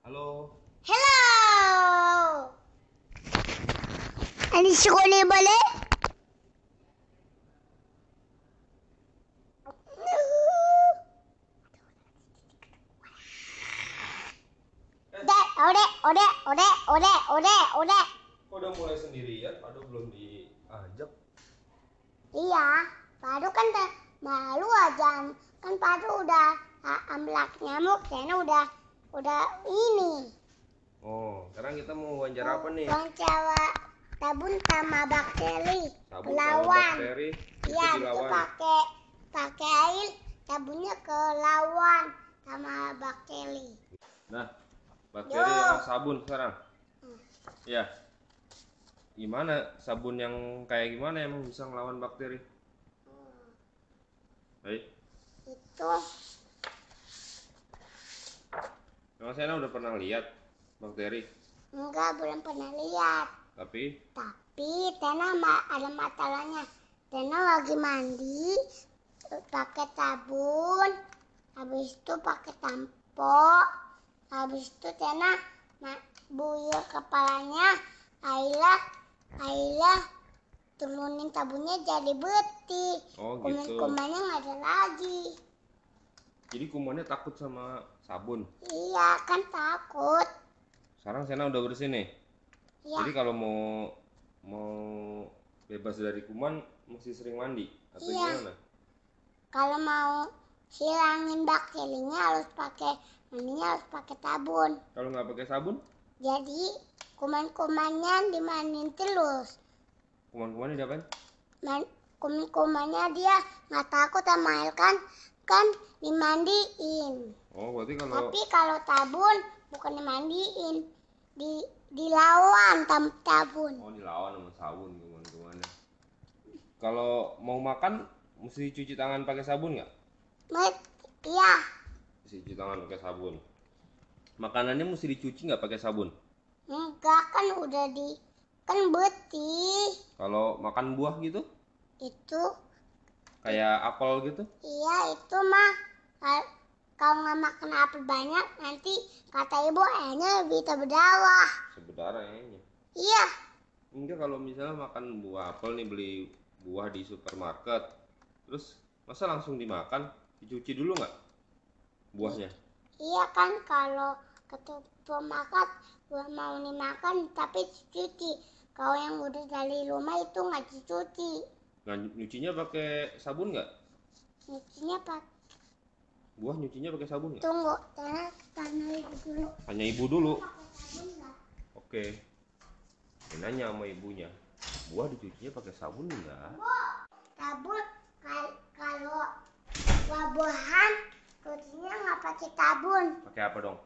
Halo. Hello! Ani sikolaya bale? Eh, Ode, ode, ode, ode, ode, ode, ode. kok udah mulai sendirian? Aduh, belum diajak. Iya, baru kan ta- baru aja kan baru udah a- amblak nyamuk karena udah udah ini. Oh, sekarang kita mau wawancara apa nih? Bang Jawa sabun sama bakteri Sabun sama lawan. bakteri itu Iya, itu dilawan. pakai pakai air sabunnya ke lawan sama bakteri. Nah, bakteri Yo. Hmm. sama sabun sekarang. Ya. Gimana sabun yang kayak gimana emang bisa ngelawan bakteri? Hmm. Baik. Itu Memang saya udah pernah lihat bakteri, enggak belum pernah lihat, tapi tapi Tena ma- ada masalahnya. Tena lagi mandi pakai sabun, habis itu pakai tampo, habis itu Tena ma- buyur kepalanya, Aila Aila turunin sabunnya jadi beti. oh gitu. Kuman-kumannya nggak ada lagi. Jadi kumannya takut sama sabun. Iya kan takut. Sekarang Sena udah bersih nih. Ya, Jadi kalau mau mau bebas dari kuman mesti sering mandi atau Iya. gimana? kalau mau hilangin bakterinya harus pakai mandinya harus pakai sabun. Kalau nggak pakai sabun, Jadi kuman-kumannya dimandiin terus. kuman-kumannya diapain? Man, kuman-kumannya dia nggak takut sama air kan kan dimandiin. Oh, berarti kalau Tapi kalau sabun bukan dimandiin, di dilawan tam sabun. oh dilawan sama sabun kuman-kumannya. Kalau mau makan mesti cuci tangan pakai sabun nggak? Met, iya Mesti cuci tangan pakai sabun. Makanannya mesti dicuci nggak pakai sabun? Enggak kan udah di kan beti Kalau makan buah gitu, itu kayak apel gitu, iya itu mah Kal- kalau nggak makan apel banyak nanti kata ibu airnya bisa berdarah sebenarnya ya, ini. iya Enggak kalau misalnya makan buah apel nih beli buah di supermarket, terus masa langsung dimakan, dicuci dulu nggak buahnya? iya kan kalau ketemu makan gua mau dimakan tapi cuci kalau yang udah dari rumah itu nggak dicuci Nah nyu- nyucinya pakai sabun nggak? cucinya pak Buah nyucinya pakai sabun nggak? tunggu tanah tanah ibu dulu Hanya ibu dulu. pakai sabun nggak Oke. Dia Nanya sama ibunya, buah dicucinya pakai sabun nggak? sabun kal- kalau buah-buahan kuncinya nggak pakai sabun Pakai apa dong?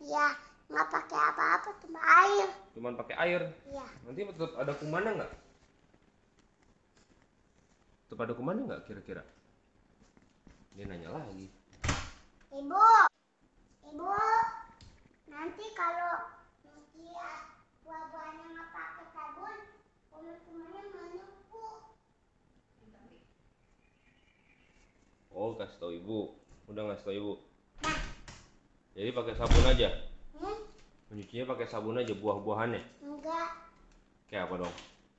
ya nggak pakai apa-apa cuma air Cuman pakai air. ya Nanti tetap ada kumannya nggak? Tetap ada kumannya nggak kira-kira? Dia nanya lagi. ibu ibu nanti kalau dia buah-buahannya nggak pakai sabun kuman-kumannya menumpuk Oh, kasih tau ibu. Udah ngasih tau ibu. Jadi pakai sabun aja. hmm? Mencucinya pakai sabun aja buah-buahannya. enggak Kayak apa dong?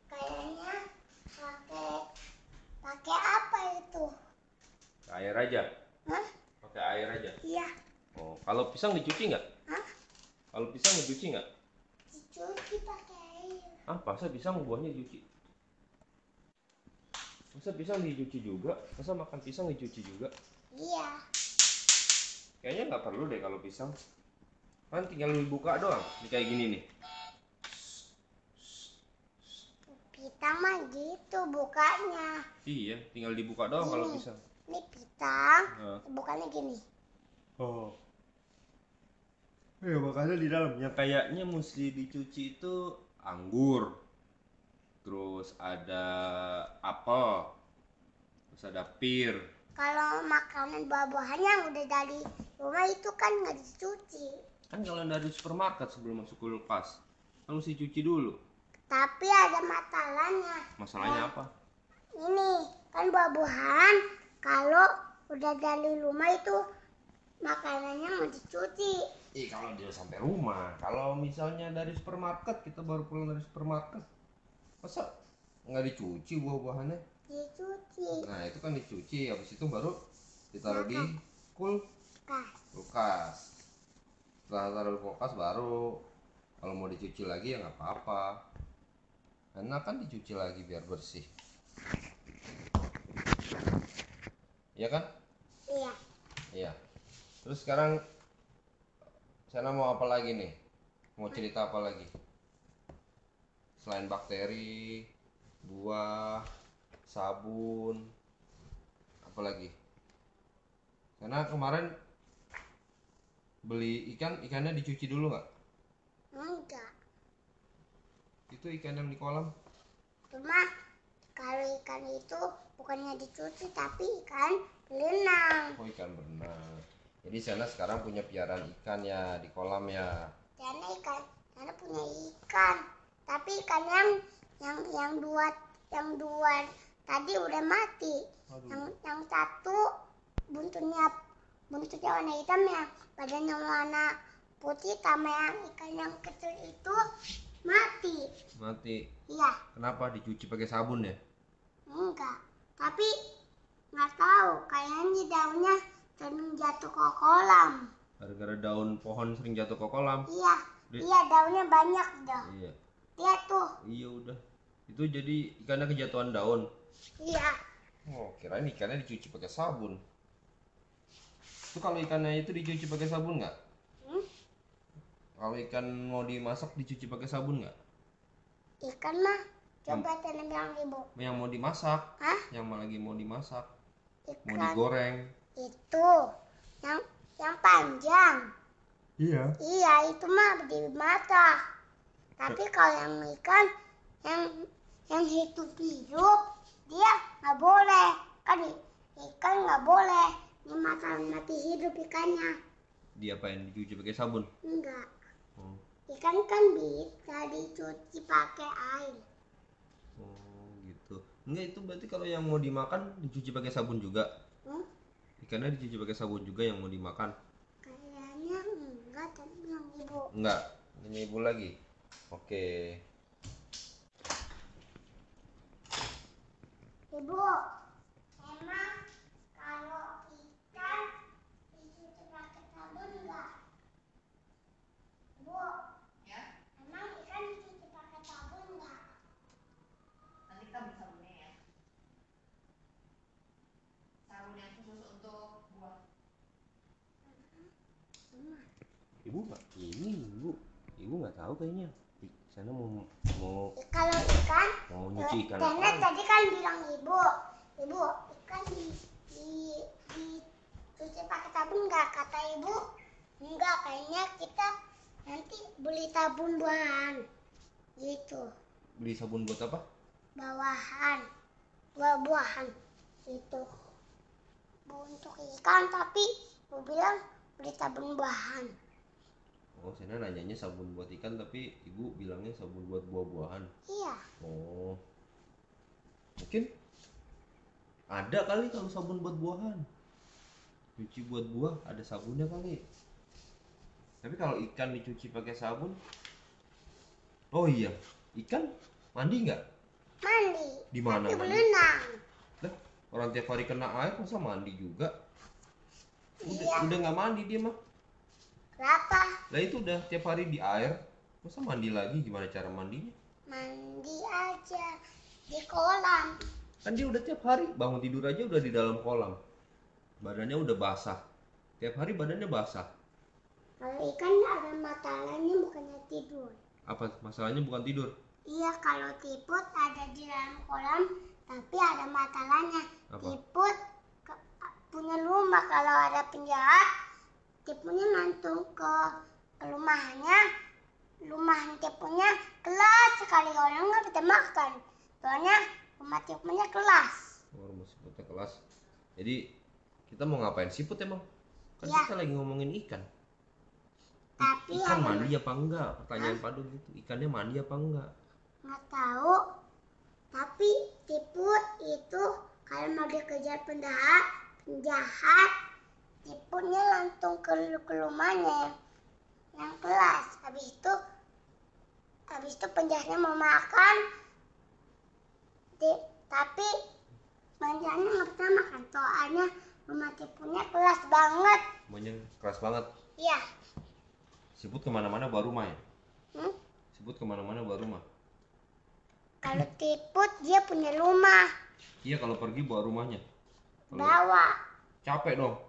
kayaknya pakai pakai apa itu Pakai Air aja. Hah? Pakai air aja. iya Oh, kalau pisang dicuci nggak? Hah? Kalau pisang dicuci nggak? dicuci pakai air Ah, masa pisang buahnya dicuci? Masa pisang dicuci juga? Masa makan pisang dicuci juga? iya Kayaknya nggak perlu deh kalau pisang. Kan tinggal dibuka doang. Ini kayak gini nih. Pitang mah gitu bukanya. Iya, tinggal dibuka doang Iya. kalau pisang. Ini pitang, Nah. bukannya gini. Oh. Ya makanya di dalam yang kayaknya mesti dicuci itu anggur. Terus ada apel. Terus ada pir. Kalau makanan buah-buahan yang udah dari rumah itu kan nggak dicuci. Kan kalau yang dari supermarket sebelum masuk kulkas, kan mesti cuci dulu. Tapi ada masalahnya. Masalahnya apa? Ini kan buah-buahan kalau udah dari rumah itu makanannya nggak dicuci. Ih, kalau dia sampai rumah, kalau misalnya dari supermarket kita baru pulang dari supermarket, masa nggak dicuci buah-buahannya? dicuci Nah itu kan dicuci, habis itu baru ditaruh di kul kas kulkas. Setelah taruh di kulkas baru kalau mau dicuci lagi ya nggak apa-apa. Karena kan dicuci lagi biar bersih. Iya kan? iya Iya. Terus sekarang sana mau apa lagi nih? Mau cerita apa lagi? Selain bakteri, buah, sabun, apa lagi? Karena kemarin beli ikan, ikannya dicuci dulu nggak? enggak Itu ikan yang di kolam. cuma kalau ikan itu bukannya dicuci tapi ikan berenang Oh ikan berenang. Jadi sana sekarang punya piaraan ikan ya di kolam ya. dan ikan karena punya ikan tapi ikan yang yang yang dua yang dua tadi udah mati Hmm. yang yang satu buntunya buntunya warna hitam ya badannya warna putih sama yang ikan yang kecil itu mati Mati. iya Kenapa dicuci pakai sabun ya? enggak tapi nggak tahu kayaknya daunnya sering jatuh ke kolam Gara-gara daun pohon sering jatuh ke kolam. iya Di- iya daunnya banyak dah Iya. lihat tuh Iya udah. Itu jadi ikannya kejatuhan daun. iya Oh, kirain ikannya dicuci pakai sabun. Itu kalau ikannya itu dicuci pakai sabun nggak? Hmm? Kalau ikan mau dimasak dicuci pakai sabun nggak? ikan mah coba tanam yang ribu Yang mau dimasak, Hah? yang mau lagi mau dimasak, mau ikan digoreng. itu yang yang panjang Iya. iya itu mah di mata tapi kalau yang ikan yang yang hidup hidup dia nggak boleh kan i- ikan nggak boleh ini mata mati hidup ikannya Diapain dicuci pakai sabun? enggak Oh, ikan kan bisa dicuci pakai air oh, gitu. Enggak itu berarti kalau yang mau dimakan dicuci pakai sabun juga. Hmm? Ikannya dicuci pakai sabun juga yang mau dimakan. kayaknya enggak tapi yang ibu Enggak, ini ibu lagi. Oke. Ibu, emang kalau ikan dicuci pakai sabun enggak? Bu, ya emang ikan dicuci pakai sabun enggak? nanti kita beli sabunnya ya sabun yang khusus untuk buah Ibu nggak ini ibu, ibu nggak tahu kayaknya. Di sana mau mau I- Kalau ikan, mau nyuci ikan Karena apa? tadi kan bilang ibu, ibu ikan di di dicuci pakai sabun enggak? Kata ibu, enggak. Kayaknya kita nanti beli sabun buahan, gitu, Beli sabun buat apa? bawahan, buah-buahan, gitu. Untuk ikan tapi ibu bilang beli sabun buahan. Oh, sana nanyanya sabun buat ikan tapi ibu bilangnya sabun buat buah-buahan. Iya, Oh. Mungkin ada kali kalau sabun buat buahan. Cuci buat buah ada sabunnya kali. Tapi kalau ikan dicuci pakai sabun Oh iya, ikan mandi nggak? mandi. Di mana Tapi mandi? berenang. Lah, orang tiap hari kena air masa mandi juga? Udah Iya. udah nggak mandi dia mah. Kenapa? Lah itu udah tiap hari di air, masa mandi lagi gimana cara mandinya? Mandi aja di kolam. Kan dia udah tiap hari bangun tidur aja udah di dalam kolam. Badannya udah basah. Tiap hari badannya basah. Kalau ikan ada matalanya bukannya tidur. Apa masalahnya bukan tidur? Iya, kalau tiput ada di dalam kolam, tapi ada matalanya. Apa? Tiput ke- punya rumah kalau ada penjahat, tipunya ngantung ke ke rumahnya. Rumah tipunya kelas sekali orang nggak bisa makan. Soalnya rumah tipunya kelas. Oh, rumah siputnya kelas. Jadi kita mau ngapain siput emang? Kan Iya. kita lagi ngomongin ikan. I- Tapi ikan ya? ada- mandi apa enggak? Pertanyaan padu gitu. Ikannya mandi apa enggak? Nggak tahu. Tapi tiput itu kalau mau dikejar penjahat, penjahat tiputnya langsung ke, ke rumahnya. yang kelas habis itu habis itu penjahitnya mau makan di- tapi penjahitnya nggak pernah makan soalnya mama tipunya kelas banget Monyet keras banget. ya Siput kemana-mana baru mah ya. hmm? Siput kemana-mana baru mah. kalau tiput dia punya rumah Iya kalau pergi bawa rumahnya. Kalau bawa capek dong.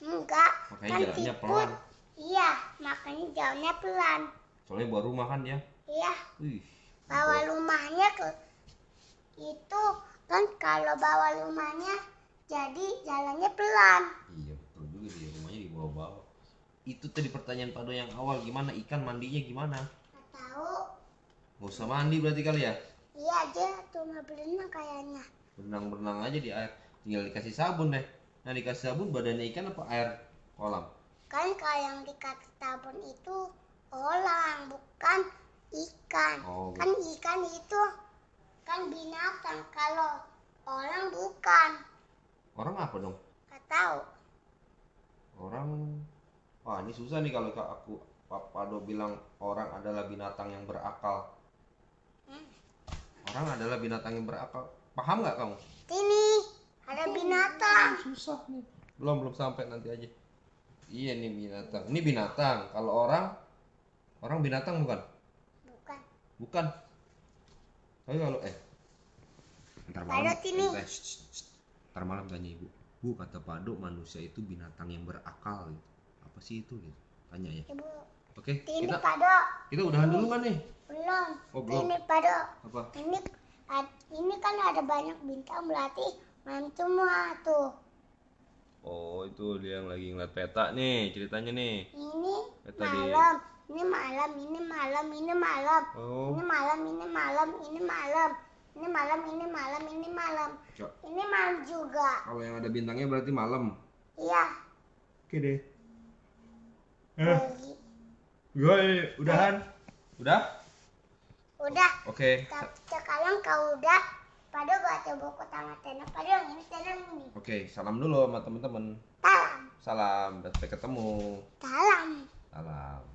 enggak Makanya kan jalannya tiput pelan. iya makanya jalannya pelan Soalnya bawa rumah kan ya. iya Wih. bawa rumahnya ke itu kan kalau bawa rumahnya jadi jalannya pelan Iya betul juga sih rumahnya di bawah-bawah. Itu tadi pertanyaan Pado yang awal gimana ikan mandinya gimana? nggak tahu Gak usah mandi berarti kali ya? iya dia cuma berenang kayaknya Berenang-berenang aja di air. Tinggal dikasih sabun deh. Nah dikasih sabun badannya ikan apa air kolam? kan kalau yang dikasih tabun itu orang bukan ikan Oh, kan ikan itu kan binatang kalau orang bukan orang apa dong? nggak tahu Orang Wah ini susah nih kalau Kak aku Pak Pado bilang orang adalah binatang yang berakal. Hmm. Orang adalah binatang yang berakal. Paham nggak kamu? sini ada binatang Susah nih. Belum belum sampai nanti aja. Iya nih binatang. Ini binatang. Kalau orang orang binatang bukan? bukan Bukan. Tapi kalau eh ntar Pado sini. eh, shh, shh, shh. ntar malam tanya ibu. Bu kata Pado manusia itu binatang yang berakal. Gitu. Apa sih itu? Gitu. Tanya ya. ibu Oke. ini Kita pado kita udahan dulu kan nih? belum Oh belum. ini pado Apa? ini ad- ini kan ada banyak bintang berarti malam semua tuh Oh itu dia yang lagi ngeliat peta nih ceritanya nih. ini Peta di. malam ini malam ini malam ini malam Oh. ini malam ini malam ini malam ini malam ini malam ini malam Cok. ini malam juga Kalau yang ada bintangnya berarti malam. iya Oke deh. Eh. bagi- Gue udahan. Udah? udah Oke. Tapi sekarang kau udah pada baca buku tangan tenang pada yang ini tenang ini Oke, salam dulu sama teman-teman. talam Salam, dan sampai ketemu. talam Salam.